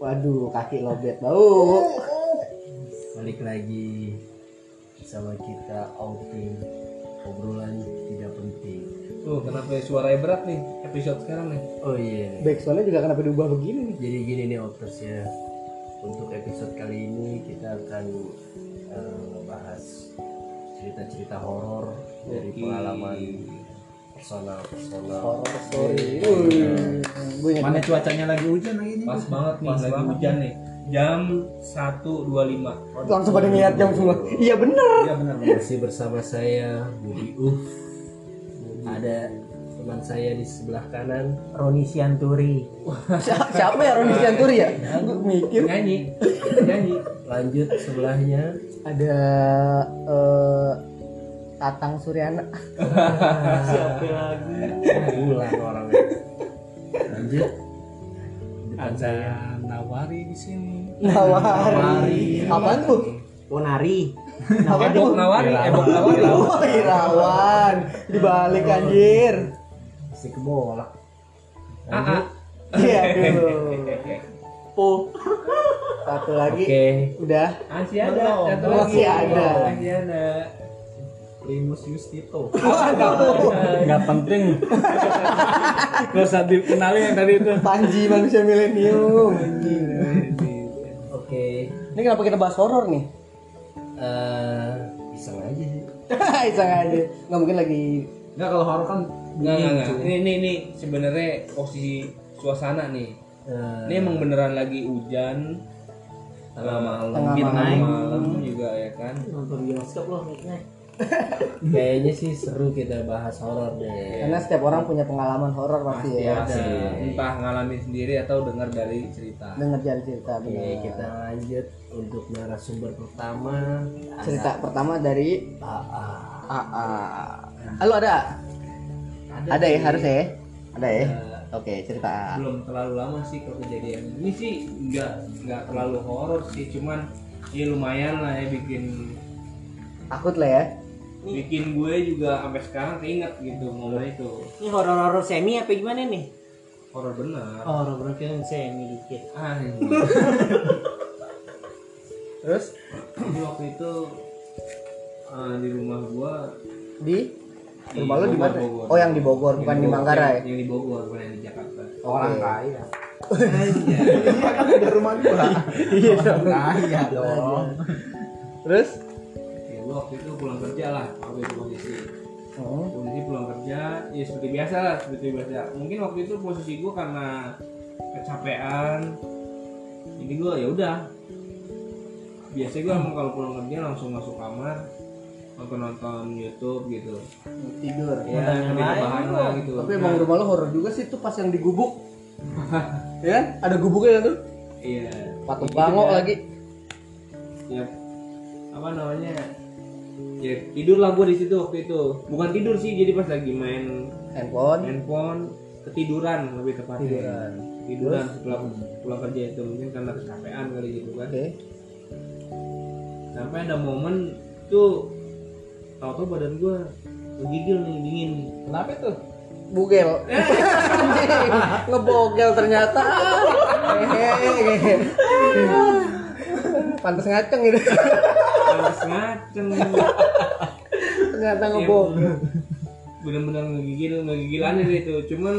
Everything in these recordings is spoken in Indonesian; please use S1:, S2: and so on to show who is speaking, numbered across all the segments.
S1: Waduh, kaki lobet bau. Balik lagi sama kita outing obrolan tidak penting.
S2: Tuh Oh, kenapa ya? suaranya berat nih episode sekarang nih?
S1: Oh iya.
S3: Backsoundnya juga kenapa diubah begini nih?
S1: Jadi gini nih Optus ya. Untuk episode kali ini kita akan eh, bahas cerita-cerita horor dari
S2: Oke.
S1: pengalaman personal-personal.
S3: Horror story. Gue
S4: Mana cuacanya lagi hujan lagi ini.
S2: Pas banget nih lagi hujan nih. Jam 1.25.
S3: langsung pada ngeliat jam semua. Iya bener.
S4: Iya benar benar.
S1: Masih bersama saya Budi Uf. Ada teman saya di sebelah kanan
S4: Roni Sianturi.
S3: Si- Siapa ya Roni Sianturi ya? Gue mikir
S2: Nyanyi, nyanyi.
S1: lanjut sebelahnya
S3: ada eh, Tatang Suryana.
S2: Siapa lagi?
S1: pulang orangnya lanjut depan
S2: Ada
S1: saya
S2: Nawari di sini.
S3: Nawari. Apaan tuh?
S1: Ponari
S3: Apaan tuh?
S2: Ebok Nawari, Ebok Nawari.
S3: Wah, Irawan. Dibalik anjir.
S1: si kebolak
S2: AA.
S3: Iya aduh. Po. Satu
S1: oke
S3: lagi. Udah.
S2: Masih ada, satu lagi.
S3: Masih ada.
S2: Masih ada.
S1: Primus Yustito
S4: Enggak penting. Gak usah dikenalin yang tadi itu.
S3: Panji manusia milenium.
S1: oke
S3: Ini kenapa kita bahas horor nih?
S1: eh iseng aja sih
S3: Iseng aja. Nggak mungkin lagi
S4: Enggak kalau horor kan
S2: Enggak, enggak, enggak. Ini, ini, ini sebenarnya posisi suasana nih.
S1: Eh,
S2: Ini emang beneran lagi hujan. Tengah malam,
S3: Tengah
S2: midnight
S3: malam.
S2: malam juga ya kan.
S4: nonton bioskop loh midnight.
S1: kayaknya sih seru kita bahas horor deh
S3: Karena setiap orang punya pengalaman horor pasti,
S1: Pasti
S3: ya.
S1: ada.
S2: Pasti. Entah ngalamin sendiri atau dengar dari cerita.
S3: Dengar jalan cerita
S1: Oke,
S3: benar.
S1: kita lanjut untuk narasumber pertama Ah,
S3: Cerita pertama dari
S1: AA.
S3: AA. Halo ada? Ada ya
S2: sih.
S3: harusnya ya? Ada ya?
S2: Ada.
S3: Oke, cerita AA.
S2: Belum terlalu lama sih kalau kejadian. Ini sih nggak nggak terlalu horor sih, cuman ya lumayan lah ya bikin
S3: Takut lah ya.
S2: bikin gue juga sampai sekarang keinget gitu momen itu.
S4: Ini horor-horor semi apa gimana nih?
S2: Horor benar.
S1: Oh,
S4: Horor berarti yang semi dikit.
S2: Ah, ini.
S3: Terus
S2: Jadi waktu itu eh, di rumah gua
S3: di
S2: di
S3: rumah lo di
S2: Bogor,
S3: mana?
S2: Bogor.
S3: Oh, yang di Bogor bukan di
S2: Bogor,
S3: Manggarai.
S2: yang- Yang di Bogor bukan yang di Jakarta.
S1: Orang kaya.
S2: Anjay.
S3: Iya dong.
S4: Kaya
S3: Terus?
S2: ya gua waktu itu pulang kerja lah waktu itu posisi
S3: Hmm.
S2: posisi pulang kerja ya seperti biasa lah seperti biasa mungkin waktu itu posisi gua karena kecapean jadi gua ya udah biasanya gua emang kalau pulang kerja langsung masuk kamar nonton nonton YouTube gitu
S3: Tidur.
S2: ya
S4: Nonton yang
S2: tapi
S4: lain
S2: rebahan lah gitu
S3: Tapi emang rumah lo horor juga sih tuh pas yang di gubuk. ya kan? Ada gubuknya tuh.
S2: iya
S3: Patung
S2: Gitu
S3: bango
S2: dah.
S3: lagi.
S2: ya apa namanya ya tidurlah gua di situ waktu itu bukan tidur sih jadi pas lagi main Iya.
S3: Handphone.
S2: handphone ketiduran lebih tepatnya
S3: Tiduran.
S2: Tiduran setelah pulang kerja itu mungkin karena kecapean kali gitu kan
S3: Oke.
S2: sampai ada momen tuh tau tuh badan gua ngegigil nih dingin nih
S4: Kenapa tuh?
S3: bugel Anjing, ngebogel ternyata Hehehe. pantas ngaceng gitu
S2: harus ngaceng
S3: ternyata
S2: Iya,
S3: ngebogel
S2: bener-bener ngegigil ngegigilan itu cuman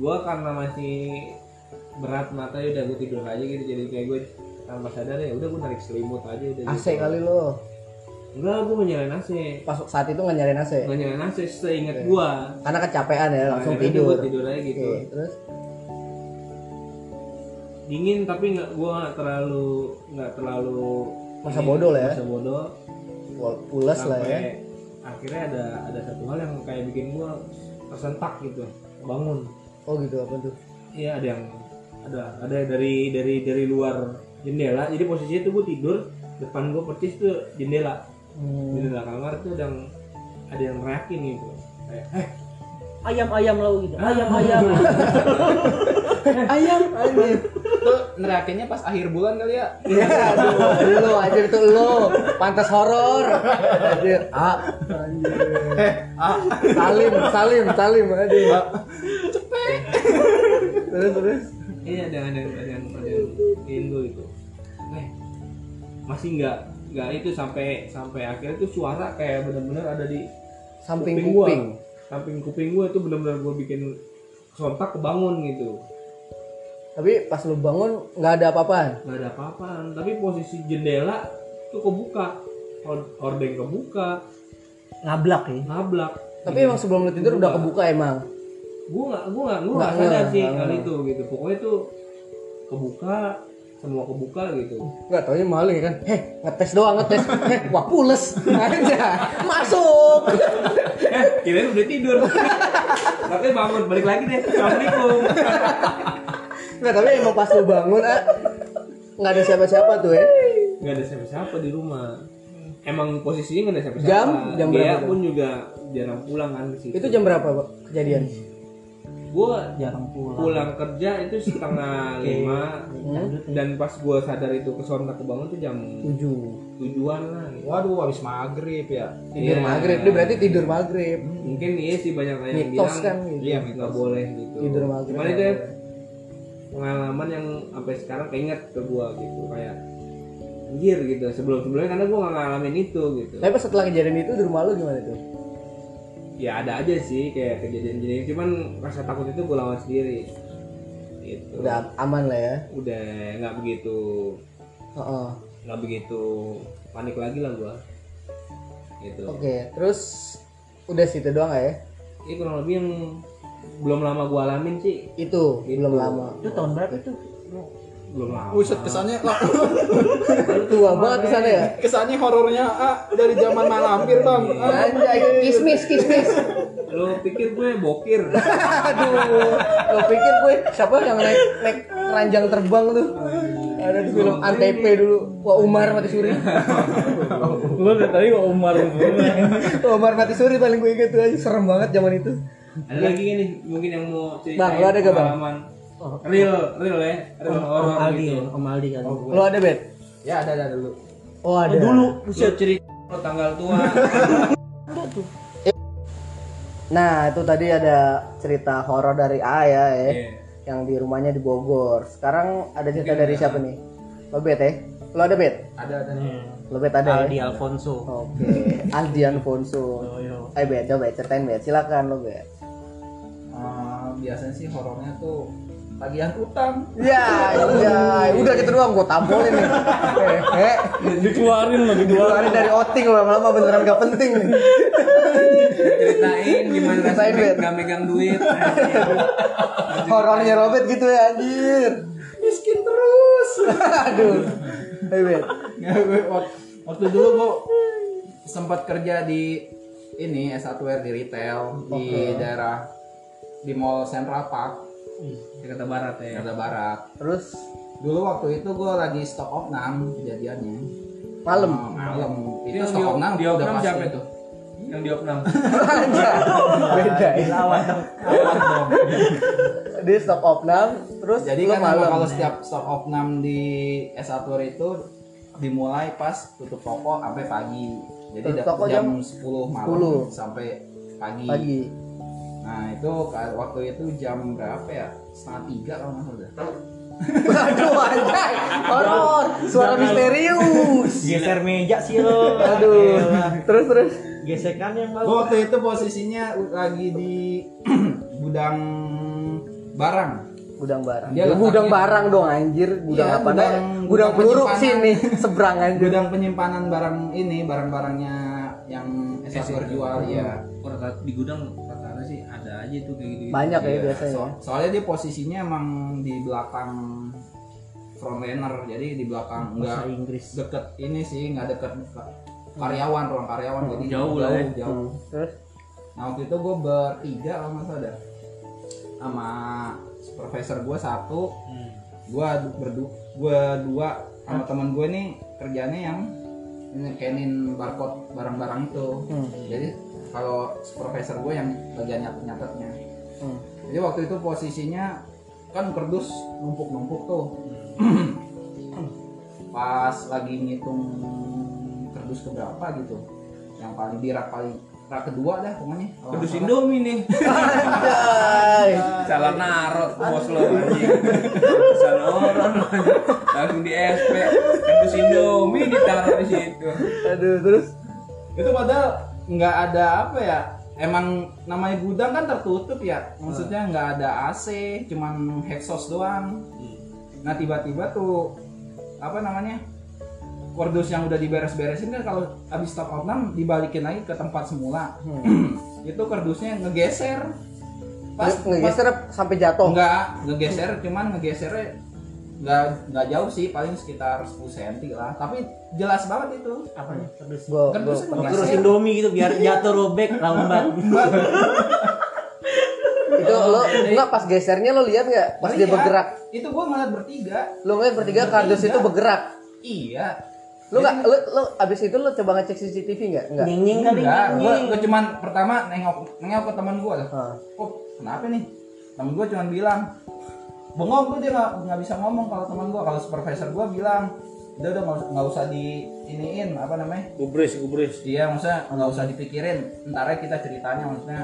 S2: gua karena masih berat mata ya udah gua tidur aja gitu jadi kayak gua tanpa sadar ya udah gua narik selimut aja udah
S3: AC
S2: gitu.
S3: kali lo
S2: enggak gua nggak nyalain AC
S3: pas saat itu nggak nyariin AC
S2: nggak nyalain AC seingat gua
S3: karena kecapean ya langsung
S2: Akhirnya
S3: tidur
S2: gua tidur aja gitu
S3: Oke, terus
S2: dingin tapi nggak gua nggak terlalu nggak terlalu
S3: Masa bodoh lah ya.
S2: masa bodoh
S3: wal- pules lah ya
S2: sampai akhirnya ada ada satu hal yang kayak bikin gua tersentak gitu bangun
S3: oh gitu apa tuh
S2: iya ada yang ada ada dari dari dari luar jendela jadi posisinya tuh gua tidur depan gua persis tuh jendela
S3: Hmm,
S2: jendela kamar tuh ada yang ada yang ngerakin gitu kayak "Eh, Ah.
S4: Ayam-ayam lo gitu.
S2: ayam Eh.
S3: ayam anjing
S4: Tuh nerakinnya pas akhir bulan kali ya.
S3: ya aduh lo anjir tuh lo pantas horor anjir ah anjir ah salim salim salim aduh cepet terus terus
S2: iya ada ada ada yang ada yang itu beliin gue itu eh masih nggak nggak itu sampai sampai akhirnya tuh suara kayak bener-bener ada di
S3: samping
S2: Kuping gua.
S3: kuping
S2: samping kuping gue tuh bener-bener gue bikin sontak kebangun gitu
S3: tapi pas lu bangun nggak ada apa-apaan
S2: nggak ada apa-apaan tapi posisi jendela tuh kebuka Or- ordeng kebuka
S1: ngablak ya
S2: ngablak
S3: tapi emang sebelum lu tidur udah kebuka emang
S2: gue nggak gue nggak gue nggak
S3: Nggak,
S2: sadar
S3: nggak,
S2: sih
S3: nggak.
S2: kali itu gitu pokoknya tuh kebuka semua kebuka gitu
S3: nggak taunya maling kan heh ngetes doang ngetes heh wah pules aja masuk
S2: eh kirain udah tidur tapi bangun balik lagi deh assalamualaikum
S3: nggak tapi emang pas lu bangun ah nggak ada siapa-siapa tuh ya
S2: nggak ada siapa-siapa di rumah emang posisinya nggak ada siapa-siapa
S3: Jam? Jam
S2: dia
S3: berapa tuh?
S2: pun juga jarang pulang kan ke situ
S3: itu jam berapa Pak, kejadian
S2: gue
S1: jarang pulang.
S2: pulang kerja itu setengah lima
S5: Iya.
S2: dan pas gue sadar itu kesontak kebangun tuh jam
S3: tujuh
S2: tujuan lah gitu.
S5: Waduh, habis maghrib ya.
S3: tidur
S2: Iya.
S3: maghrib dia berarti tidur maghrib
S2: mungkin iya sih banyak yang
S3: Mitos
S2: bilang
S3: kan gitu.
S2: iya nggak boleh gitu
S3: Tidur maghrib.
S2: cuman itu ya, pengalaman yang sampai sekarang keinget ke gua gitu kayak anjir gitu sebelum sebelumnya karena gua nggak ngalamin itu gitu
S3: tapi pas setelah kejadian itu di rumah lu gimana tuh
S2: ya ada aja sih kayak kejadian-kejadian cuman rasa takut itu gua lawan sendiri gitu
S3: udah aman lah ya
S2: udah nggak begitu
S3: Heeh.
S2: nggak begitu panik lagi lah gua gitu
S3: oke terus udah situ doang nggak ya
S2: ini kurang lebih yang belum lama gua alamin sih
S3: itu belum
S2: Itu.
S3: lama
S1: itu tahun berapa itu
S2: belum lama
S5: Buset, kesannya
S3: tua banget di sana ya
S5: kesannya horornya ah, dari zaman malampir, Bang. Ah,
S3: Anjay, kismis, kismis.
S2: lo pikir gue bokir
S3: Aduh, lo pikir gue siapa yang naik naik ranjang terbang tuh? Ada di film Antp dulu. Wah Umar mati suri.
S6: Lu udah tadi kok Umar mulu.
S3: Wah, Umar mati suri paling gue inget tuh aja serem banget zaman itu.
S2: ada lagi nih mungkin yang mau ceritain
S3: Bang, lo ada gak, Bang? Oh.
S2: pengalaman real real ya real
S1: Om
S2: horror
S1: Aldi
S2: gitu
S1: ya, Om Aldi kali.
S3: Lo ada bet?
S5: Ya, ada ada dulu.
S3: Oh ada.
S1: dulu
S2: Lo cerita lo tanggal tua
S3: Nah itu tadi ada cerita horor dari A ya, ya.
S2: Iya.
S3: yang di rumahnya di Bogor. Sekarang ada cerita dari siapa nih? Lo bet ya? Lo ada bet?
S5: Ada ada.
S3: Lo bet ada
S1: Aldi
S3: ya?
S1: Alfonso.
S3: Oke, Aldi Alfonso.
S1: Yo, yo.
S3: Eh bet, coba Bet. ceritain bet. Silakan lo bet.
S5: Ah, biasanya sih horornya tuh tagihan utang.
S3: Ya, ya, udah gitu doang gue tampolin nih. Hehe.
S6: Dikeluarin loh, dikeluarin.
S3: Keluarin dari outing lama-lama beneran gak penting nih.
S2: ceritain gimana
S3: Ceritain,
S2: rasanya
S3: Bet.
S2: nggak megang duit
S3: Horornya Robert gitu ya, anjir.
S5: Miskin terus.
S3: Aduh. Eh, Hey, Bet.
S5: Nggak, gue wak- waktu dulu gue sempat kerja di ini S1R di retail di daerah di Mall Central Park
S2: Jakarta Barat ya
S5: Jakarta Barat.
S3: Terus
S5: Dulu waktu itu gue lagi stok opnam kejadiannya.
S3: malam.
S5: Oh, malam.
S2: Ini
S5: Itu
S2: yang
S5: stok
S2: di-
S5: opnam
S2: di
S5: udah
S2: opnam
S5: pasti
S2: siapa
S5: itu.
S2: tuh? yang di opnam
S3: Anjay. Beda ya. Dia stop opnam, terus
S5: Jadi
S3: lu
S5: kan emang
S3: malam.
S5: kalau setiap stok opnam di S1 itu dimulai pas tutup toko sampai pagi. Jadi
S3: Tutup
S5: da-
S3: toko
S5: jam,
S3: jam
S5: 10 malam
S3: 10.
S5: sampai pagi.
S3: pagi.
S5: Nah itu ka- waktu itu jam berapa ya? Setengah tiga kalau nggak salah.
S3: Aduh, anjay. Horor, suara misterius.
S1: Geser meja sih lo.
S5: Iya,
S3: Aduh. Terus terus.
S1: Gesekan yang
S5: Gue
S1: mau.
S5: waktu itu posisinya lagi di gudang barang.
S3: Gudang barang.
S5: Dia
S3: Ya,
S5: letaknya-
S3: gudang barang dong anjir, gudang
S5: Iya,
S3: apa dah?
S5: gudang-
S3: Gudang
S5: gudang
S3: peluru
S5: penyimpanan.
S3: sini, seberang anjir.
S5: Gudang penyimpanan barang ini, barang-barangnya yang S1 jual ya.
S3: iya.
S2: Orang rata- di gudang rata-rata sih ada aja tuh kayak gitu
S3: Banyak ya
S5: Iya,
S3: biasanya.
S5: so- soalnya dia posisinya emang di belakang frontliner, jadi di belakang enggak
S1: Bahasa Inggris.
S5: deket ini sih, nggak deket ka- karyawan, ruang karyawan jadi
S2: Jauh lah ya.
S5: jauh.
S3: Hmm, Terus
S5: Nah waktu itu gue bertiga kalau nggak salah dah. sama supervisor gue satu, gue berdu, gue dua sama teman gue nih kerjanya yang nyekenin barcode barang-barang itu. Jadi kalau supervisor gue yang bagian nyatet-nyatetnya.
S3: Hmm.
S5: Jadi waktu itu posisinya kan kerdus numpuk-numpuk tuh. Pas lagi ngitung kerdus keberapa gitu. Yang paling di rak paling tak kedua dah pokoknya Kalau
S2: Kedus
S5: nggak salah.
S2: Indomie nih.
S3: Anjay.
S2: Salah narok tuh bos lo anjing. Salah orang anjing. langsung di SP. Kedus Indomie ditaruh di situ.
S3: Aduh, terus
S5: itu padahal nggak ada apa ya emang namanya gudang kan tertutup ya maksudnya nggak ada AC cuman hexos doang nah tiba-tiba tuh apa namanya kordus yang udah diberes-beresin kan kalau abis top outnam dibalikin lagi ke tempat semula itu kardusnya ngegeser pas pas-
S3: ngegeser sampai jatuh.
S5: enggak ngegeser cuman ngegesernya nggak nggak jauh sih paling sekitar 10 cm lah tapi jelas banget itu
S1: Apa nih? Terus
S3: Gua, gua,
S5: kardusnya
S3: gua-
S1: terus
S5: ngegeser.
S1: Indomie gitu biar jatuh robek lambat.
S3: itu lo enggak pas gesernya lo lihat nggak pas dia
S5: Iya,
S3: bergerak
S5: itu gua ngeliat bertiga
S3: lo ngeliat bertiga kardus itu bergerak
S5: iya
S3: lo nggak lo lo abis itu lo coba ngecek CCTV nggak nggak
S5: Iya.
S1: Nying-nying kali
S5: enggak gua,
S1: nying.
S5: gua cuman pertama nengok nengok ke teman gua lah
S3: Hah.
S5: oh kenapa nih temen gua cuman bilang bengong tuh dia nggak nggak bisa ngomong kalau teman gua kalau supervisor gua bilang udah udah nggak usah- nggak usah di iniin apa namanya
S7: Gubris, gubris.
S5: Iya, maksudnya nggak usah dipikirin. Ntar aja kita ceritanya, maksudnya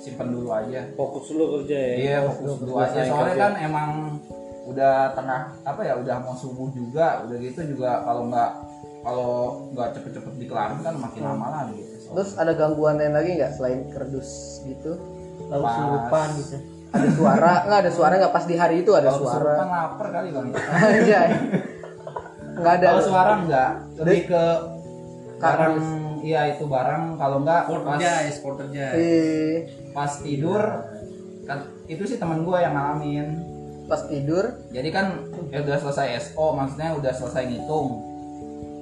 S5: simpen dulu aja.
S7: Fokus dulu kerja ya.
S5: Iya, fokus dulu aja.
S7: selesai
S5: Soalnya
S7: kerja.
S5: kan emang udah tengah apa ya, udah mau subuh juga. Udah gitu juga kalau nggak kalau nggak cepet-cepet dikelarin kan makin
S7: Hmm.
S5: lama lagi. Soalnya
S3: terus ada gangguan lain lagi nggak selain kerdus gitu
S1: Lalu
S5: Pas.
S1: surupan gitu.
S3: ada suara nggak ada suara nggak pas di hari itu ada
S5: kalau
S3: suara
S5: kesurupan lapar kali bang.
S3: anjay nggak ada
S5: Kalau suara nggak, lebih ke barang.
S3: Kardus.
S5: Iya itu barang. Kalau nggak pas
S2: Porterjais, porterjais.
S3: Ih,
S5: pas tidur, kan itu sih teman gue yang ngalamin.
S3: pas tidur
S5: jadi kan ya udah selesai SO maksudnya udah selesai ngitung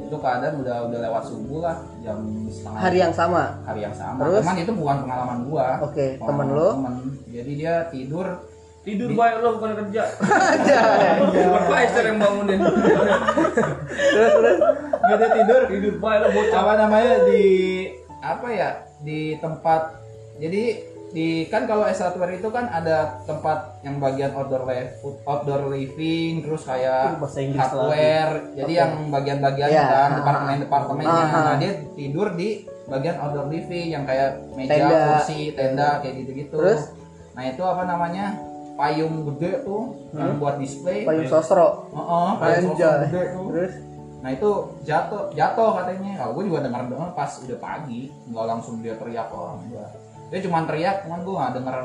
S5: itu keadaan udah udah lewat subuh lah jam setengah
S3: hari yang sama
S5: hari yang sama
S3: Terus?
S5: cuman itu bukan pengalaman gua
S3: Oke,
S5: Pengalaman
S3: temen lo?
S5: temen. jadi dia tidur
S2: Tidur baik lo bukan kerja.
S3: aja
S2: Supervisor yang bangunin.
S3: terus terus
S5: dia dia tidur
S2: Tidur baik lo bocah.
S5: apa namanya di apa ya di tempat jadi di kan kalau S1 itu kan ada tempat yang bagian outdoor life outdoor living terus kayak
S1: Bahasa Inggris lagi.
S5: hardware jadi yang bagian-bagian
S3: Ya.
S5: kan departemen departemennya
S3: Aha.
S5: nah dia tidur di bagian outdoor living yang kayak meja
S3: Tenda.
S5: kursi tenda kayak gitu-gitu
S3: Terus?
S5: nah itu apa namanya payung gede tuh yang buat display
S3: payung sosro
S5: Heeh, payung sosok
S3: anjay
S5: gede tuh.
S3: terus
S5: Nah itu jatuh, jatuh katanya. Kalau gue juga dengar dengar pas udah pagi, nggak langsung dia teriak orang. Dia, dia cuma teriak, cuman gue nggak denger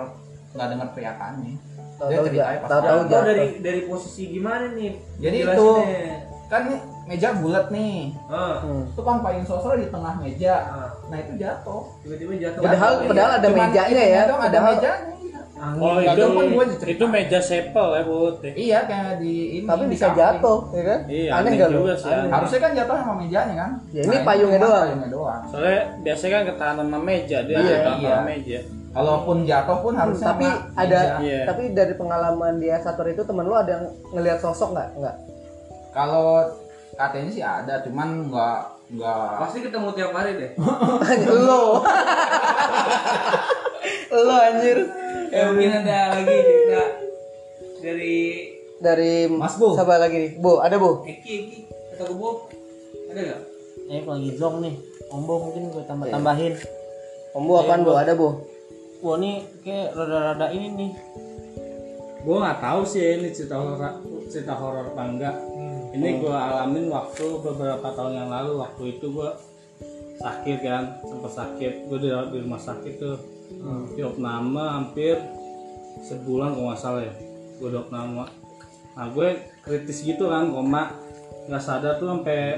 S5: nggak denger teriakannya. Dia
S3: Tahu-tahu
S5: ceritanya
S3: ja-
S5: pas
S3: tahu-tahu
S5: malam.
S3: ja-
S2: Tahu dari dari posisi gimana nih?
S5: Jadi
S2: Jelasin
S5: itu
S2: deh.
S5: kan nih, meja bulat nih.
S2: Ah,
S3: hmm.
S5: Itu kan payung sosro di tengah meja.
S2: ah.
S5: Nah itu jatuh.
S2: Tiba-tiba jatuh.
S3: Padahal-
S2: Jatuh,
S3: padahal
S2: iya.
S3: ada
S5: Cuman
S3: mejanya
S5: ininya
S3: ya,
S5: doang, Ada
S3: padahal-
S5: mejanya. iya.
S2: Angin.
S7: Oh
S5: Nggak
S7: itu,
S5: dong, kan gua diceritain.
S7: itu meja sepel ya buat ya.
S5: Iya kayak di ini.
S3: tapi
S5: di
S3: bisa
S5: samping.
S3: jatuh ya kan
S7: Iya,
S3: aneh
S7: aneh
S3: nggak lu
S7: juga sih, aneh.
S5: Harusnya kan jatuh sama mejanya kan.
S3: Ya, ini
S5: itu
S3: payungnya
S5: cuman
S3: doang.
S5: Payungnya doang.
S7: Soalnya biasanya kan ketahanan sama meja dia
S5: Iya,
S7: ketahanan
S5: iya.
S7: sama meja.
S5: Kalaupun jatuh pun harusnya
S3: tapi
S5: sama
S3: ada
S5: meja.
S7: Iya.
S3: tapi dari pengalaman di Asator itu temen lu ada yang ngelihat sosok nggak nggak
S5: Kalau katanya sih ada, cuman nggak nggak
S2: Pasti ketemu tiap hari deh.
S3: lo lo anjir
S2: Ya mungkin ada lagi cerita dari
S3: dari
S5: Mas Bu.
S3: siapa lagi nih Bu ada Bu
S2: Eki Eki atau Kubo ada nggak?
S1: Ini kalau lagi zonk nih. Ombo mungkin gue tambah tambahin.
S3: Om
S7: Iya,
S3: Bu apaan Bu ada Bu
S1: Wah ini kayak rada-rada ini nih.
S7: Gue nggak tahu sih ya ini cerita horor cerita horor apa enggak.
S2: Hmm.
S7: Ini gue alamin waktu beberapa tahun yang lalu. Waktu itu gue sakit kan, sempat sakit. Gue di, di rumah sakit tuh.
S3: Hmm.
S7: Di opname hampir sebulan kalau nggak salah ya. Gue di opname. Nah gue kritis gitu kan, koma nggak sadar tuh sampai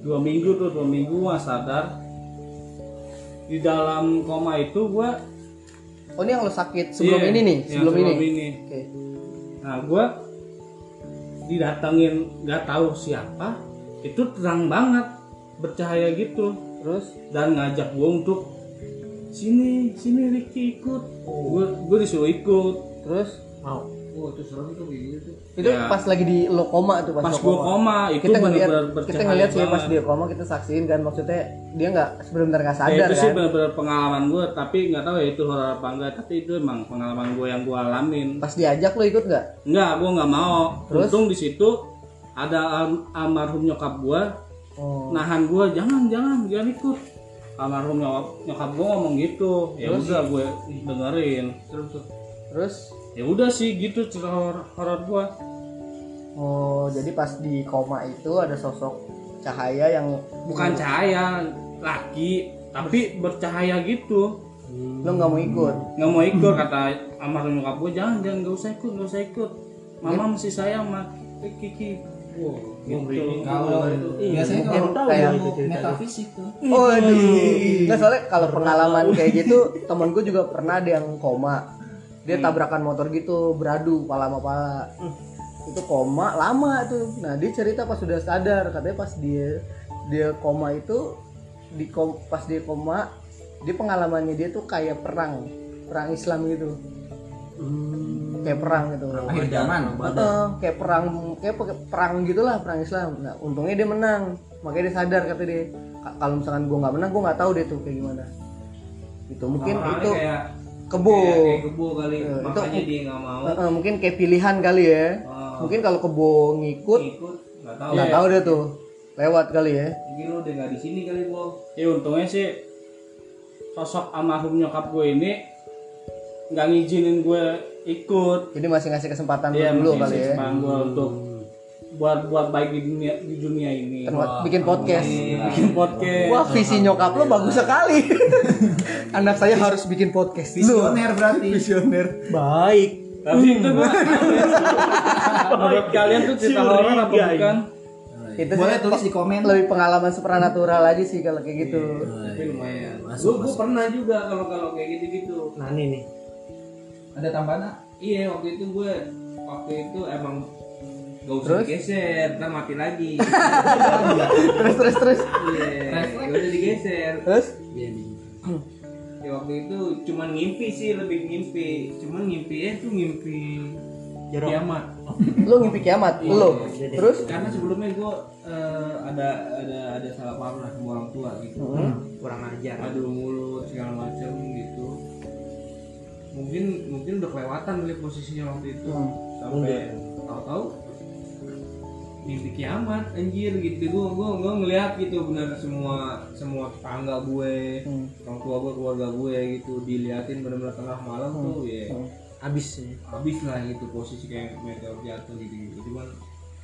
S7: dua minggu tuh dua minggu nggak sadar di dalam koma itu gue
S3: oh ini yang lo sakit sebelum
S7: Iya,
S3: ini nih
S7: yang
S3: sebelum, ini,
S7: ini.
S3: Oke.
S7: Nah, gua didatengin nggak tahu siapa, itu terang banget, bercahaya gitu. Terus dan ngajak gua untuk sini, sini Ricky ikut. Gua gua disuruh ikut.
S3: terus
S2: Oh itu serem tuh kayak gitu.
S3: itu
S7: Ya.
S3: pas lagi di lo koma tuh pas,
S7: Pas
S3: lo
S7: gua koma, itu
S3: kita ngeliat
S7: benar-benar
S3: kita
S7: bercahaya
S3: ngeliat sih pas
S7: banget.
S3: dia koma kita saksiin kan maksudnya dia nggak sebentar nggak
S7: Ya,
S3: sadar
S7: itu sih
S3: kan
S7: benar-benar pengalaman gua, tapi nggak tahu ya itu horor apa enggak, tapi itu emang pengalaman gua yang gua alamin.
S3: pas diajak lo ikut nggak
S7: Enggak, gua nggak mau.
S3: Terus?
S7: Untung di situ ada al- almarhum nyokap gua
S3: oh
S7: nahan gue jangan jangan jangan ikut almarhum nyokap, nyokap gue ngomong gitu ya
S2: Terus?
S7: udah gue dengerin
S2: terus tuh
S3: Terus
S7: ya udah sih gitu cerita horor horor gue
S3: oh jadi pas di koma itu ada sosok cahaya yang
S7: bukan
S3: Hmm.
S7: cahaya laki tapi bercahaya gitu
S3: lo nggak mau ikut.
S7: nggak mau ikut kata almarhum nyokap gue jangan jangan nggak usah ikut nggak usah ikut mama masih sayang sama Kiki wow, gitu.
S5: Kalau
S1: Iya,
S5: biasanya
S3: mungkin
S5: kalau
S3: kayak
S1: gitu
S5: ilmu metafisik tuh.
S3: Oh, Nggak soalnya kalau pengalaman kayak gitu, temen gue juga pernah ada yang koma. Dia tabrakan motor gitu, beradu pala sama pala. Itu koma lama tuh. Nah, dia cerita pas sudah sadar, katanya pas dia dia koma itu di kom- pas dia koma, dia pengalamannya dia tuh kayak perang, perang Islam gitu. Kayak perang gitu.
S5: Akhir zaman.
S3: Heeh, kayak perang kayak pe- perang gitulah perang Islam. Nah, untungnya dia menang. Makanya dia sadar kata dia "Ka- kalau misalkan gua nggak menang gua nggak tahu deh tuh kayak gimana. Itu mungkin
S2: Lama-lama
S3: itu
S2: kayak
S3: kebo.
S2: kayak, kayak kebo kali
S3: Eh, itu-
S2: makanya dia nggak mau
S3: Heeh, mungkin kayak pilihan kali ya.
S2: Oh. Iya.
S3: Mungkin kalau kebo ngikut
S2: ikut nggak tahu
S3: nggak tahu deh tuh. Lewat kali ya.
S2: mungkin lu udah nggak di sini kali gua
S7: ya untungnya sih sosok almarhum nyokap gue ini nggak ngizinin gue ikut
S3: Jadi masih ngasih kesempatan
S7: dia
S3: dulu kali ya.
S7: gue untuk buat buat baik di dunia di dunia ini
S3: Terbuat- bikin podcast.
S7: bikin podcast
S3: Wah, visi nyokap lo bagus sekali. Anak saya harus bikin podcast dulu.
S5: Visioner berarti. Visioner.
S3: Baik.
S7: tapi itu gue menurut kalian tuh cerita horor apa bukan
S3: Itu
S5: Boleh
S3: sih
S5: tulis di komen.
S3: lebih pengalaman supranatural aja sih kalau kayak gitu.
S1: Iya,
S2: tapi lumayan gua, gua pernah juga kalau kalau kayak gitu gitu
S3: Nani nih.
S5: Ada tambahan? Nak?
S2: iya waktu itu gue waktu itu emang gak usah digeser ntar mati lagi
S3: Terus terus terus.
S2: iya gak usah digeser
S3: Terus
S1: Iya,
S2: ya waktu itu cuman ngimpi sih lebih ngimpi cuman ngimpi ya itu ngimpi kiamat
S3: lu Iya, ngimpi kiamat, lu. Terus
S2: karena sebelumnya gue ada ada ada salah paham lah sama orang tua gitu kurang ajar aduh mulut segala macam gitu mungkin mungkin udah kelewatan kali posisinya waktu itu
S3: Hmm,
S2: sampai tahu-tahu mimpi kiamat anjir gitu gue gue gue ngeliat gitu benar semua semua tetangga gue orang tua gue keluarga gue gitu diliatin benar-benar tengah malam tuh ya
S3: habis
S2: habis lah gitu posisi kayak meteor jatuh gitu gitu cuman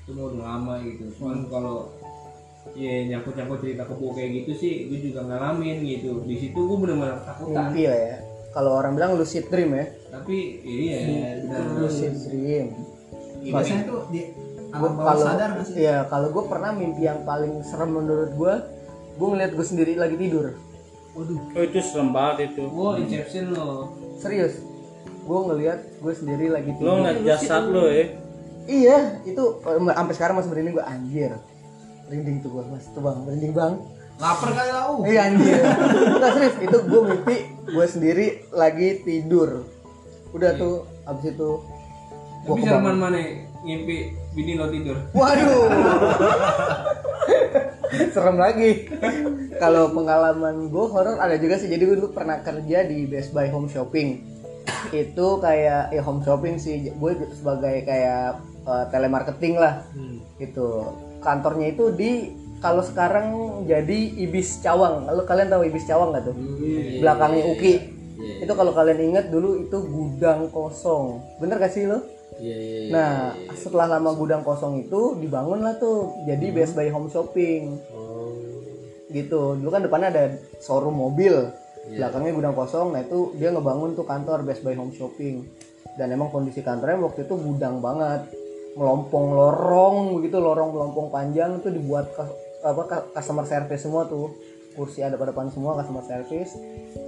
S2: itu mau udah lama gitu cuman kalau ya nyangkut nyangkut cerita kebo kayak gitu sih gue juga ngalamin gitu di situ gue benar-benar ketakutan
S3: mimpi lah ya. Kalau orang bilang lucid dream ya.
S2: tapi iya
S3: Hmm.
S2: benar
S3: Lucid dream.
S5: Biasanya tuh di
S3: Gua
S5: alam bawah
S3: kalau
S5: sadar nggak sih?
S3: iya, kalau gue pernah mimpi yang paling serem menurut gue, gue ngeliat gue sendiri lagi tidur.
S7: oh itu serem banget itu
S2: gue inception loh
S3: Serius. Gue ngeliat gue sendiri lagi
S7: lo
S2: iya,
S3: tidur.
S7: ngeliat jasad lo ya
S3: Iya, itu eh, sampai sekarang masih merinding gue anjir. Merinding tuh gue mas, tuh bang, merinding bang.
S5: Lapar kali lah. uh.
S3: Iya anjir. Enggak serius, itu gue mimpi gue sendiri lagi tidur. Udah
S5: Iya.
S3: tuh abis itu gue
S2: tapi
S3: kebangun.
S2: sereman mana ngimpi bini lo tidur
S3: Waduh. Serem lagi. Kalau pengalaman gue horor ada juga sih. Jadi gue dulu pernah kerja di Best Buy Home Shopping. Itu kayak ya home shopping sih. Gue sebagai kayak eh, telemarketing lah. Gitu. Kantornya itu di kalau sekarang jadi Ibis Cawang. Kalau kalian tahu Ibis Cawang nggak tuh? Belakangnya Uki. Itu kalau kalian ingat dulu itu gudang kosong. Bener gak sih lo? Nah, setelah lama gudang kosong itu dibangunlah tuh jadi Best Buy Home Shopping. Gitu. Dulu kan depannya ada showroom mobil, belakangnya gudang kosong. Nah, itu dia ngebangun tuh kantor Best Buy Home Shopping. Dan emang kondisi kantornya waktu itu gudang banget. Melompong lorong begitu, lorong melompong panjang itu dibuat kas- apa ka- customer service semua tuh. Kursi ada pada depan semua customer service.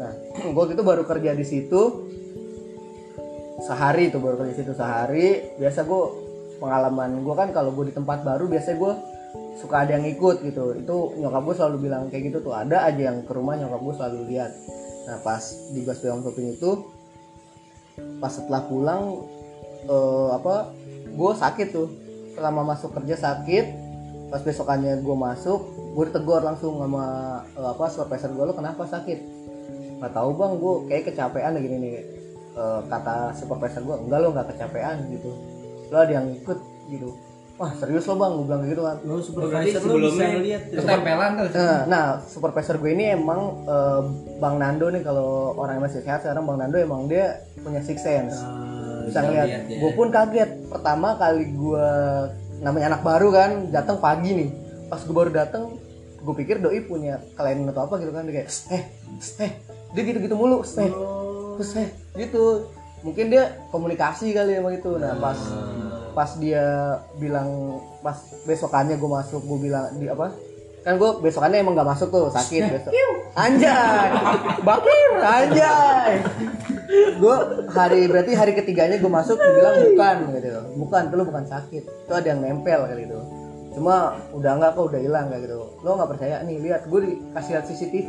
S3: Nah, gue gitu baru kerja di situ, sehari tuh baru kerja situ sehari biasa gue pengalaman gue kan kalau gue di tempat baru biasanya gue suka ada yang ikut gitu itu nyokap gue selalu bilang kayak gitu tuh ada aja yang ke rumah nyokap gue selalu lihat nah pas di Bas Beyond Shopping itu pas setelah pulang eh, apa gue sakit tuh selama masuk kerja sakit pas besokannya gue masuk gue ditegur langsung sama eh, apa supervisor gue lo kenapa sakit nggak tahu bang gue kayak kecapean deh gini nih Eh, kata supervisor gue enggak lo nggak kecapean gitu lo ada yang ikut gitu wah serius lo bang gue bilang kayak gitu kan
S2: Lo
S7: berarti
S2: supervisor lo bisa
S7: sebelumnya
S2: lihat
S5: ketempelan terus
S3: Eh, nah supervisor gue ini emang eh, bang Nando nih kalau orang yang masih sehat sekarang bang Nando emang dia punya six sense bisa ngeliat
S1: ya.
S3: ya. gue pun kaget pertama kali gue namanya anak baru kan datang pagi nih pas gue baru datang gue pikir doi punya kelainan atau apa gitu kan dia kayak eh eh dia gitu gitu mulu eh terus eh gitu mungkin dia komunikasi kali emang gitu nah pas pas dia bilang pas besokannya gue masuk gue bilang di apa kan gue besokannya emang gak masuk tuh sakit besok anjay bakir anjay gue hari berarti hari ketiganya gue masuk dibilang bukan gitu bukan tuh lu bukan sakit itu ada yang nempel kayak gitu cuma udah nggak kok udah hilang kayak gitu lo nggak percaya nih lihat gue dikasih lihat CCTV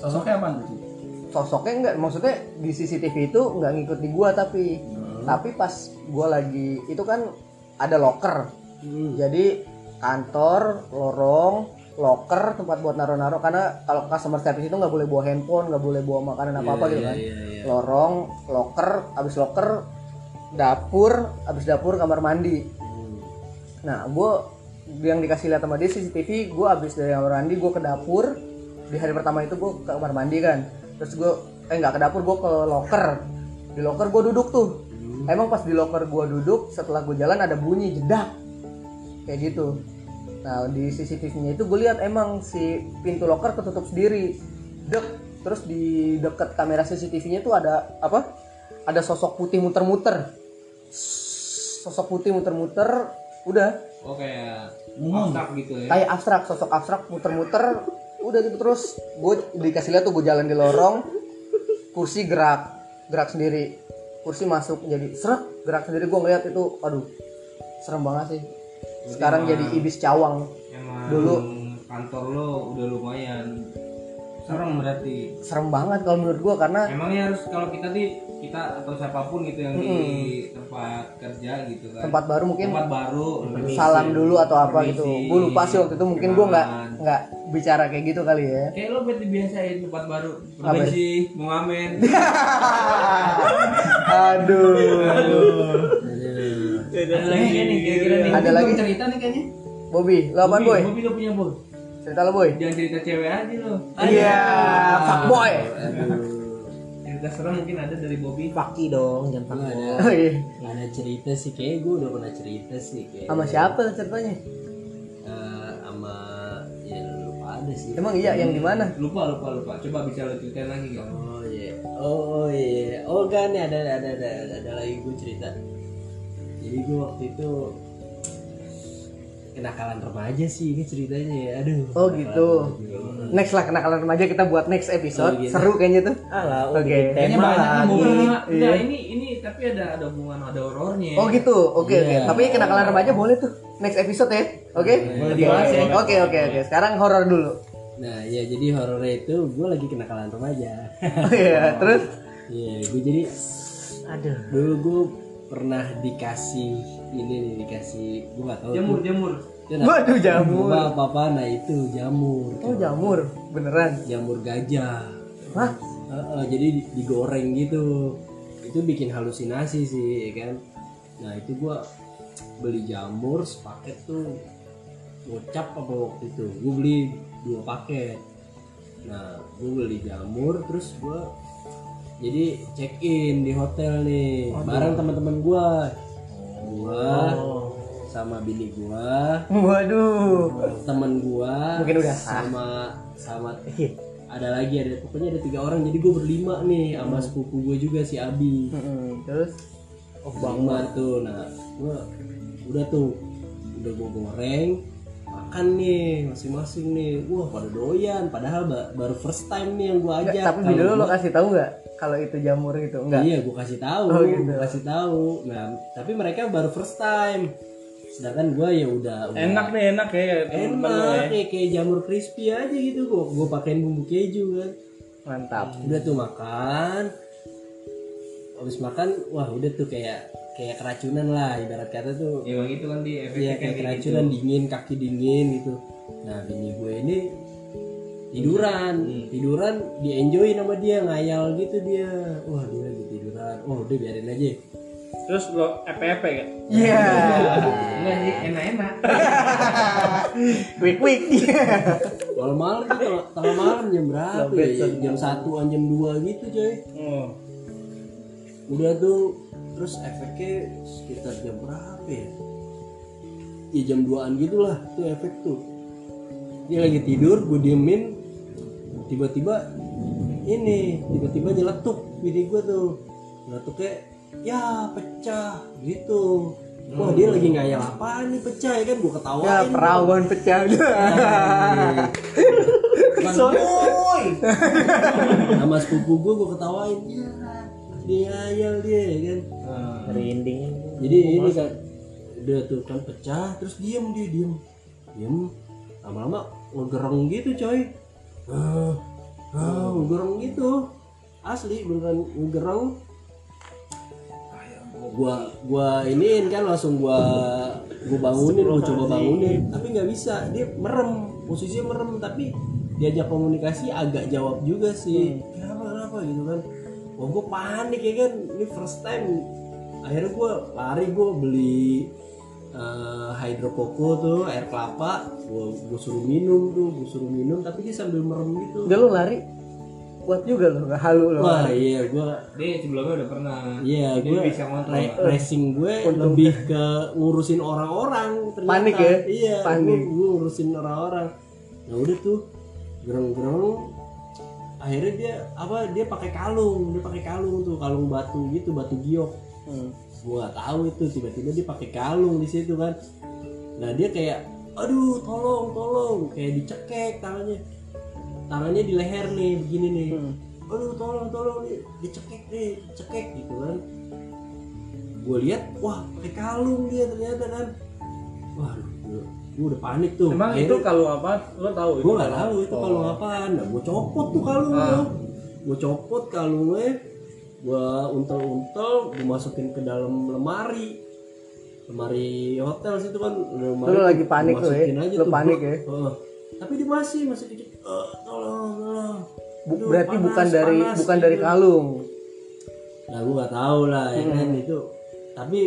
S5: sosoknya apa tuh
S3: sosoknya nggak maksudnya di CCTV itu nggak ngikut di gua tapi tapi pas gua lagi itu kan ada locker jadi kantor lorong locker tempat buat naro-naro karena kalau customer service itu nggak boleh bawa handphone nggak boleh bawa makanan apa apa gitu kan lorong locker abis locker dapur abis dapur kamar mandi nah gua yang dikasih lihat sama dia CCTV gua abis dari kamar mandi gua ke dapur di hari pertama itu gue ke kamar mandi kan terus gue eh nggak ke dapur gue ke locker di locker gue duduk tuh emang pas di locker gue duduk setelah gue jalan ada bunyi jedak kayak gitu nah di CCTV-nya itu gue lihat emang si pintu locker ketutup sendiri dek terus di deket kamera CCTV-nya tuh ada apa ada sosok putih muter-muter sosok putih muter-muter udah
S2: Oh kayak
S3: Hmm.
S2: abstrak gitu ya.
S3: kayak abstrak sosok abstrak muter-muter udah gitu terus gue dikasih lihat tuh gue jalan di lorong kursi gerak gerak sendiri kursi masuk jadi serak gerak sendiri gue ngeliat itu aduh serem banget sih
S2: Iya.
S3: sekarang jadi ibis cawang
S2: Emang
S3: Dulu.
S2: kantor lo udah lumayan serem berarti.
S3: serem banget kalau menurut gue karena
S2: Emangnya harus kalau kita di kita atau siapapun gitu yang di tempat kerja gitu kan.
S3: Hmm. tempat baru mungkin
S2: Tempat baru. permisi.
S3: salam dulu atau apa gitu
S2: Permisi.
S3: gue lupa sih waktu itu mungkin gue nggak
S2: Kenalan.
S3: nggak bicara kayak gitu kali ya
S2: Kayak lo berarti biasain tempat baru. Permisi, mau ngamen.
S3: aduh
S2: Ada lagi nih kira-kira nih.
S3: ada lagi
S5: Iya. cerita nih kayaknya
S3: Bobby lo apaan boy
S2: Boy, Bobi lo punya boy.
S3: cerita lo boy
S2: Jangan cerita cewek aja lo.
S3: iya fuck boy
S2: Cerita serem Ya mungkin ada dari Bobi.
S1: Paki dong, jangan paki.
S3: Oh, iya.
S1: Nggak ada cerita sih, kayaknya gue udah pernah cerita sih kayak gitu.
S3: sama siapa ceritanya
S1: eh, sama ya lupa ada sih.
S3: Emang iya yang di mana?
S2: Lupa lupa lupa. Coba bisa lo ceritain lagi kan.
S1: Oh iya, oh, oh iya, oh kan nih ada ada ada ada, ada lagi gue cerita. Jadi gue waktu itu kenakalan remaja sih ini ceritanya ya, aduh.
S3: Oh, gitu.
S1: Kenakalan remaja.
S3: Next lah kenakalan remaja kita buat next episode.
S1: Oh, gitu.
S3: Seru kayaknya tuh.
S1: Alah,
S3: Oke.
S1: oke.
S3: Kayaknya
S1: Tema gitu. lagi.
S2: Nah, enggak, ini ini tapi ada ada hubungan ada horornya.
S3: Iya. Oh gitu. Oke oke.
S1: Iya.
S3: Tapi kenakalan remaja boleh tuh next episode ya. Oke. Oke oke oke oke. Sekarang horor dulu.
S1: Nah ya jadi horornya itu gue lagi kenakalan remaja.
S3: Iya, terus
S1: Iya, gue jadi
S3: aduh.
S1: dulu gue pernah dikasih ini nih dikasih gue gak tahu
S2: Jamur jamur.
S1: Itu nah,
S3: Waduh jamur.
S1: gua apa apa nah itu jamur
S3: Oh jamur beneran.
S1: jamur gajah
S3: Hah?
S1: Heeh, jadi di- digoreng gitu itu bikin halusinasi sih ya kan nah itu gua beli jamur sepaket tuh gocap apa waktu itu gue beli dua paket nah gue beli jamur terus gua jadi check in di hotel nih bareng teman-teman gua gua sama bini gua
S3: Waduh.
S1: temen gua
S3: Mungkin udah Iya. sah.
S1: sama sama ada lagi ada pokoknya ada tiga orang jadi gue berlima nih sama
S3: Hmm.
S1: sepupu gue juga si Abi
S3: Mm-mm. Terus
S1: oh, tuh nah gue udah tuh udah gue goreng makan nih masing-masing nih wah pada doyan padahal ba- baru first time nih yang gue
S3: Nggak,
S1: ajak
S3: tapi
S1: Kalau
S3: video lo kan?
S1: gua-
S3: kasih tahu nggak kalau itu jamur gitu? itu enggak?
S1: Iya, gue kasih tahu,
S3: Oh, gitu.
S1: gua kasih tahu. Nah, tapi mereka baru first time. Sedangkan gue ya udah, udah
S7: Enak nih enak ya. temen-temen lu ya.
S1: enak kayak, kayak jamur crispy aja gitu gua gua pakein bumbu keju kan
S3: Mantap.
S1: udah tuh makan habis makan wah udah tuh kayak kayak keracunan lah ibarat kata tuh
S2: Emang itu kan di
S3: Iya,
S2: efeknya
S1: ya kayak keracunan dingin kaki dingin gitu nah bini gue ini tiduran tiduran dienjoyin sama dia ngayal gitu dia wah dia lagi tiduran oh udah biarin aja
S7: terus lo EPP kan
S3: Iya.
S2: Enggak sih, enak-enak.
S3: Quick quick.
S1: Iya. Kalau malam tuh kalau tengah malam jam berapa
S3: Lobet
S1: ya? Jam satuan jam dua gitu coy.
S7: oh.
S1: Udah tuh terus efeknya sekitar jam berapa ya? Ya jam 2an gitulah tuh efek tuh. Dia lagi tidur, gue diemin tiba-tiba ini tiba-tiba nyeletuk bini gue tuh nyeletuknya ya pecah gitu wah dia lagi ngayal apa nih pecah ya kan gue ketawain
S3: Ya
S1: tuh.
S3: perawan pecah.
S1: Iya.
S3: Soalnya
S1: sama sepupu gue gue ketawain ya dia ngayal dia ya kan
S3: Merinding.
S1: jadi ini kan udah tuh kan pecah terus diem dia diem diem lama-lama ngegereng gitu coy ah ah ngegereng gitu asli beneran ngegereng gua gua iniin kan langsung gua gua bangunin gua coba bangunin tapi nggak bisa dia merem posisinya merem tapi diajak komunikasi agak jawab juga sih kenapa kenapa gitu kan wah gua panik ya kan ini first time akhirnya gua lari gua beli eh, hydro hydrokoko tuh air kelapa gua, gua suruh minum tuh gua suruh minum tapi dia sambil merem gitu
S3: Udah lu lari kuat juga lo, nggak halu lo.
S1: wah iya gua
S2: Dia sebelumnya udah pernah.
S1: Iya,
S2: Dia
S1: gue
S2: bisa ngontrol.
S1: racing gue
S3: Untung.
S1: lebih ke ngurusin orang-orang. ternyata.
S3: Panik ya?
S1: Iya,
S3: Panik.
S1: Gue, gue ngurusin orang-orang. Nah udah tuh, gerong-gerong. Akhirnya dia apa? Dia pakai kalung, dia pakai kalung tuh, kalung batu gitu, batu giok.
S3: Hmm.
S1: Gue nggak tahu itu tiba-tiba dia pakai kalung di situ kan. Nah dia kayak, aduh tolong tolong, kayak dicekek tangannya. Tangannya di leher nih, begini nih
S3: Hmm.
S1: aduh tolong tolong nih dicekek nih dicekek gitu kan gue lihat wah pakai kalung dia ternyata kan wah gue udah panik tuh
S7: emang itu kalau apa lo tahu itu
S1: gue nggak tahu itu kalung
S3: Oh.
S1: apaan nah, gue copot tuh kalungnya
S7: Ah.
S1: gue copot kalungnya gue untel-untel gue masukin ke dalam lemari lemari hotel situ kan lemari
S3: Lu
S1: tuh
S3: lagi
S1: gua
S3: panik lu ya?
S1: masukin aja
S3: Lu
S1: tuh,
S3: panik
S1: blok.
S3: ya?
S1: Heeh. tapi dia masih masih dikit "Eh, tolong tolong
S3: Bu-
S1: Aduh,
S3: berarti
S1: panas,
S3: bukan dari
S1: panas,
S3: bukan dari
S1: gitu.
S3: kalung.
S1: Nah gue gak tau lah ya kan
S3: Hmm.
S1: itu Tapi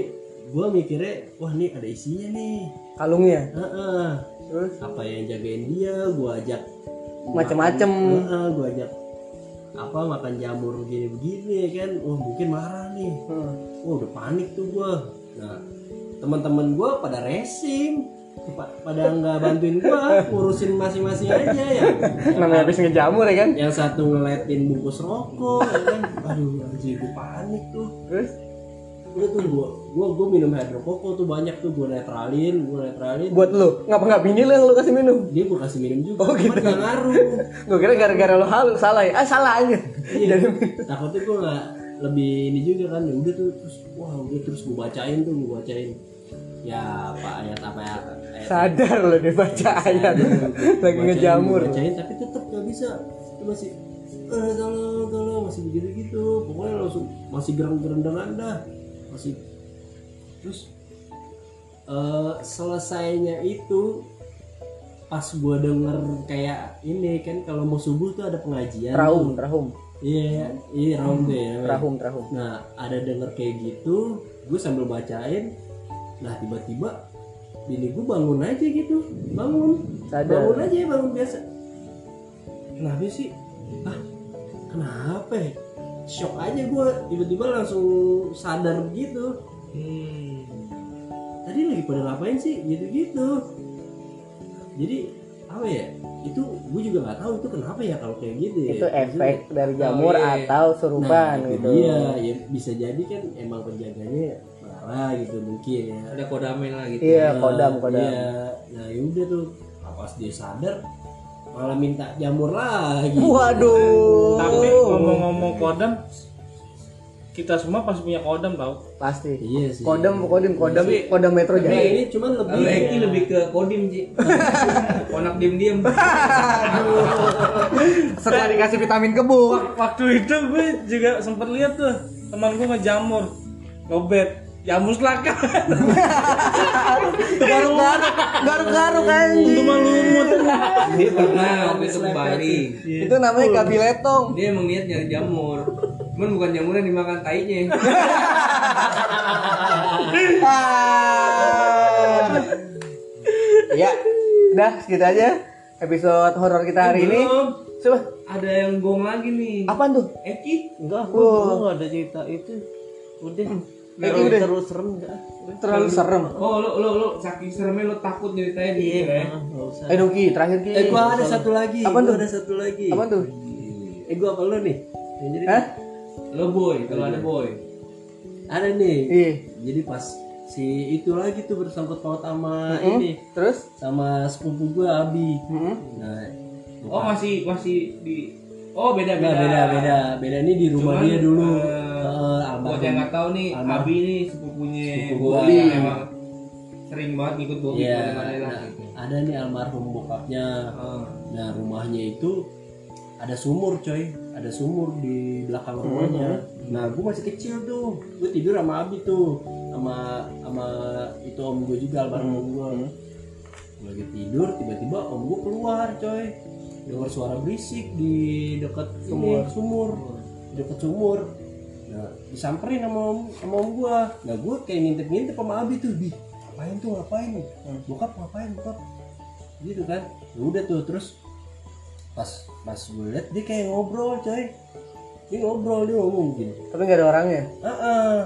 S1: gue mikirnya wah nih ada isinya nih
S3: Kalungnya.
S1: Heeh.
S3: Terus
S1: Apa yang jagain dia gue ajak
S3: Macem-macem.
S1: Gue ajak apa makan jamur begini-begini ya kan Wah mungkin marah nih
S3: hmm.
S1: Wah udah panik tuh gue Nah teman-teman gue pada racing Pa- pada nggak bantuin gua ngurusin masing-masing aja ya
S3: namanya habis ngejamur ya kan?
S1: yang satu ngeliatin bungkus rokok ya kan aduh anjir gue panik tuh
S3: Terus
S1: udah tuh gua gua gua minum hydro coco tuh banyak tuh gua netralin gua netralin
S3: buat lu, ngapa nggak bini lu yang lu kasih minum?
S1: dia gua kasih minum juga
S3: Oh, gitu.
S1: cuman nggak ngaruh
S3: Gue kira gara-gara lu halu salah ya. Ah salah aja.
S1: iya takutnya gua nggak lebih ini juga kan ya udah tuh terus wah udah terus gua bacain tuh gua bacain ya apa ayat apa ayat, ayat
S3: Sadar lo dia baca ayat. Iya, Lagi ngejamur.
S1: Gitu. bacain tapi tetap nggak bisa itu masih eh tolong tolong masih begitu gitu pokoknya langsung masih gerang gerendangan dah masih terus eh selesainya itu pas gua denger kayak ini kan kalau mau subuh tuh ada pengajian
S3: Trahum,
S1: tuh.
S3: trahum,
S1: iya iya raum deh
S3: trahum, trahum.
S1: Nah, ada denger kayak gitu, gue sambil bacain. Nah, tiba-tiba bini gue bangun aja gitu, bangun,
S3: Sadar.
S1: bangun aja ya, bangun biasa. Kenapa sih? Ah, kenapa? ya? Shock aja gue, tiba-tiba langsung sadar gitu. Tadi lagi pada ngapain sih? Gitu-gitu. Jadi apa ya? Itu gue juga nggak tahu itu kenapa ya kalau kayak gitu ya.
S3: Itu
S1: Maksudnya-
S3: efek dari jamur
S2: Oh, iya.
S3: atau surupan
S1: itu
S3: gitu.
S1: Iya, ya bisa jadi kan emang penjaganya marah gitu mungkin ya.
S2: Ada kodamen lah gitu.
S3: Iya,
S1: Nah,
S3: kodam, kodam.
S1: Iya. Nah, yaudah tuh pas dia sadar malah minta jamur lagi.
S3: Waduh.
S7: tapi
S2: Oh.
S7: ngomong-ngomong kodam kita semua pasti punya kodam tau
S3: pasti.
S1: Iya sih.
S3: Kodam, kodim, kodam,
S2: Tapi-
S3: kodam Metro
S1: Tapi
S3: Jaya.
S1: ini cuman lebih ya.
S2: Lalu Eki lebih ke kodim sih. Konak diem-diem.
S3: Setelah dikasih vitamin kebuk.
S7: waktu itu gue juga sempet lihat tuh teman gue ngejamur lobet jamur selaka
S3: garuk-garuk garuk-garuk anjing
S7: cuma lumut
S2: Dia pernah waktu itu ke Bali.
S3: itu namanya gabi letong
S2: Dia emang niat nyari jamur. Cuman bukan jamurnya yang dimakan tainya.
S3: Ah. ya, udah segitu aja episode horor kita hari ini.
S2: Belum.
S3: Coba,
S2: Ada yang gong lagi nih.
S3: apaan tuh?
S2: Eki.
S1: Enggak, aku
S3: Wah.
S1: gua nggak ada cerita itu. Udah,
S3: Eki udah
S1: terlalu serem enggak?
S3: terlalu serem.
S2: Oh, lo lo lo saking seremnya lo takut nyeritain di sini ya.
S1: Ah, nggak usah.
S3: Eh Nuki, terakhir Ki.
S1: Eh, gua ada satu lagi.
S3: Apaan
S1: Gua
S3: tuh?
S1: Ada satu lagi.
S3: Apaan tuh?
S1: Eh, gua apa lu nih? Yang Jadi
S3: Hah?
S2: Lo boy, kalau ada boy.
S1: ada nih.
S3: Iya.
S1: Jadi pas si itu lagi tuh bersangkut paut sama
S3: Mm-mm.
S1: Nah, ini,
S3: Hmm? Terus? Hmm?
S1: sama sepupu gua Abi.
S3: Mm-mm.
S1: Nah,
S2: Oh masih masih di. Oh beda
S1: Nggak,
S2: beda
S1: Nah, beda beda beda ini di rumah
S2: Cuman,
S1: dia dulu.
S2: eh,
S1: Heeh,
S2: Buat yang nggak tahu nih,
S1: Almarhum.
S2: Abi ini sepupunya
S1: Sepupu
S2: boy
S1: gua.
S2: yang emang sering banget ngikut boy.
S1: Iya,
S2: kemana-mana lah.
S1: nah, ada nih almarhum bokapnya.
S2: Ah.
S1: Nah rumahnya itu ada sumur coy, ada sumur di belakang rumahnya. Nah gue masih kecil tuh, gue tidur sama Abi tuh, sama sama itu om gue juga almarhum gue. Gue lagi tidur, tiba-tiba om gue keluar coy, dengar suara berisik di dekat sumur, ini, sumur, di dekat sumur. Nah disamperin sama om, sama om gue. Nah gue kayak ngintip-ngintip sama Abi tuh, di ngapain tuh ngapain? Bokap ngapain bokap? Gitu kan? Ya udah tuh terus pas pas gue liat dia kayak ngobrol coy dia ngobrol dia ngomong gini
S3: Tapi nggak ada orangnya.
S1: ah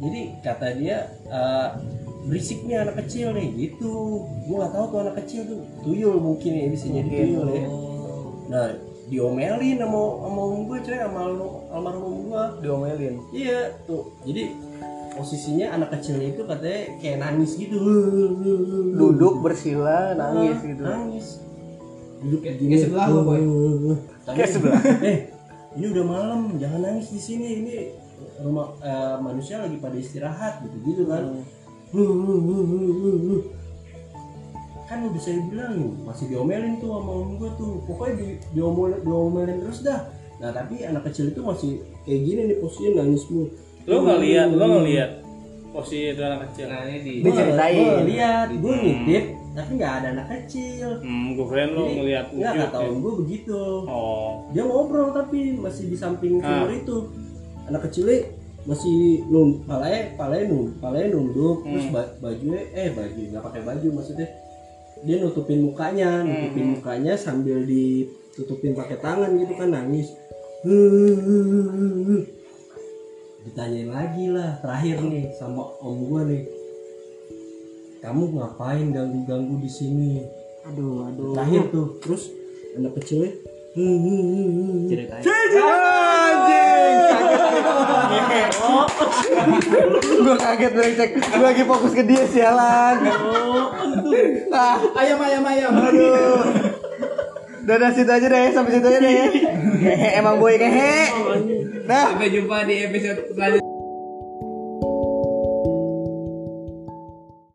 S1: jadi kata dia "Ah, berisik nih anak kecil nih gitu gue nggak tahu tuh anak kecil tuh tuyul mungkin ya bisa jadi tuyul ya nah diomelin sama sama om gue coy sama almarhum- almarhum gue
S3: Diomelin.
S1: Iya tuh. Jadi posisinya anak kecilnya itu katanya kayak nangis gitu.
S3: Duduk bersila
S7: Iya,
S3: nangis
S1: Ah,
S3: gitu.
S1: Nangis. Duduk
S2: Kayak- kayak sebelah lu, Boy.
S1: Tapi- Eh, ini udah malam, jangan nangis di sini. Ini rumah eh, manusia lagi pada istirahat gitu gitu
S7: Hmm.
S1: kan. kan udah saya bilang masih diomelin tuh sama om gue tuh pokoknya di, diomel- diomelin terus dah nah tapi anak kecil itu masih kayak gini nih posisinya nangis mulu
S7: lo ngeliat lo ngeliat posisi itu anak kecil
S2: Nah ini di.
S3: Diceritain.
S1: Gue lihat, gue ngintip, tapi nggak ada anak kecil.
S7: hmm gue keren lo
S1: Jadi,
S7: ngeliat
S1: Nggak
S7: wujud
S1: kata
S7: ya.
S1: om gue begitu.
S7: oh
S1: Dia ngobrol tapi masih di samping sumur
S7: Ah.
S1: itu. Anak kecilnya masih num, palanya, palanya num, palanya nunduk, terus
S7: Hmm.
S1: ba- bajunya, eh baju nggak pakai baju maksudnya. Dia nutupin mukanya, nutupin
S7: Hmm.
S1: mukanya sambil ditutupin pakai tangan gitu kan nangis. Huhuhuhuhu. Ditanyain lagi lah terakhir nih sama om gue nih kamu ngapain ganggu-ganggu di sini? Aduh, aduh. Terakhir tuh, terus anak kecilnya "Hmm, hmm, hmm, hmm."
S3: Gue kaget brengsek. Gue lagi fokus ke dia sialan. Ah,
S5: ayam ayam ayam
S3: aduh. Udah, udah situ aja deh, sampai situ aja deh. Hehe, Emang boy kehe. Nah,
S2: Sampai jumpa di episode selanjutnya.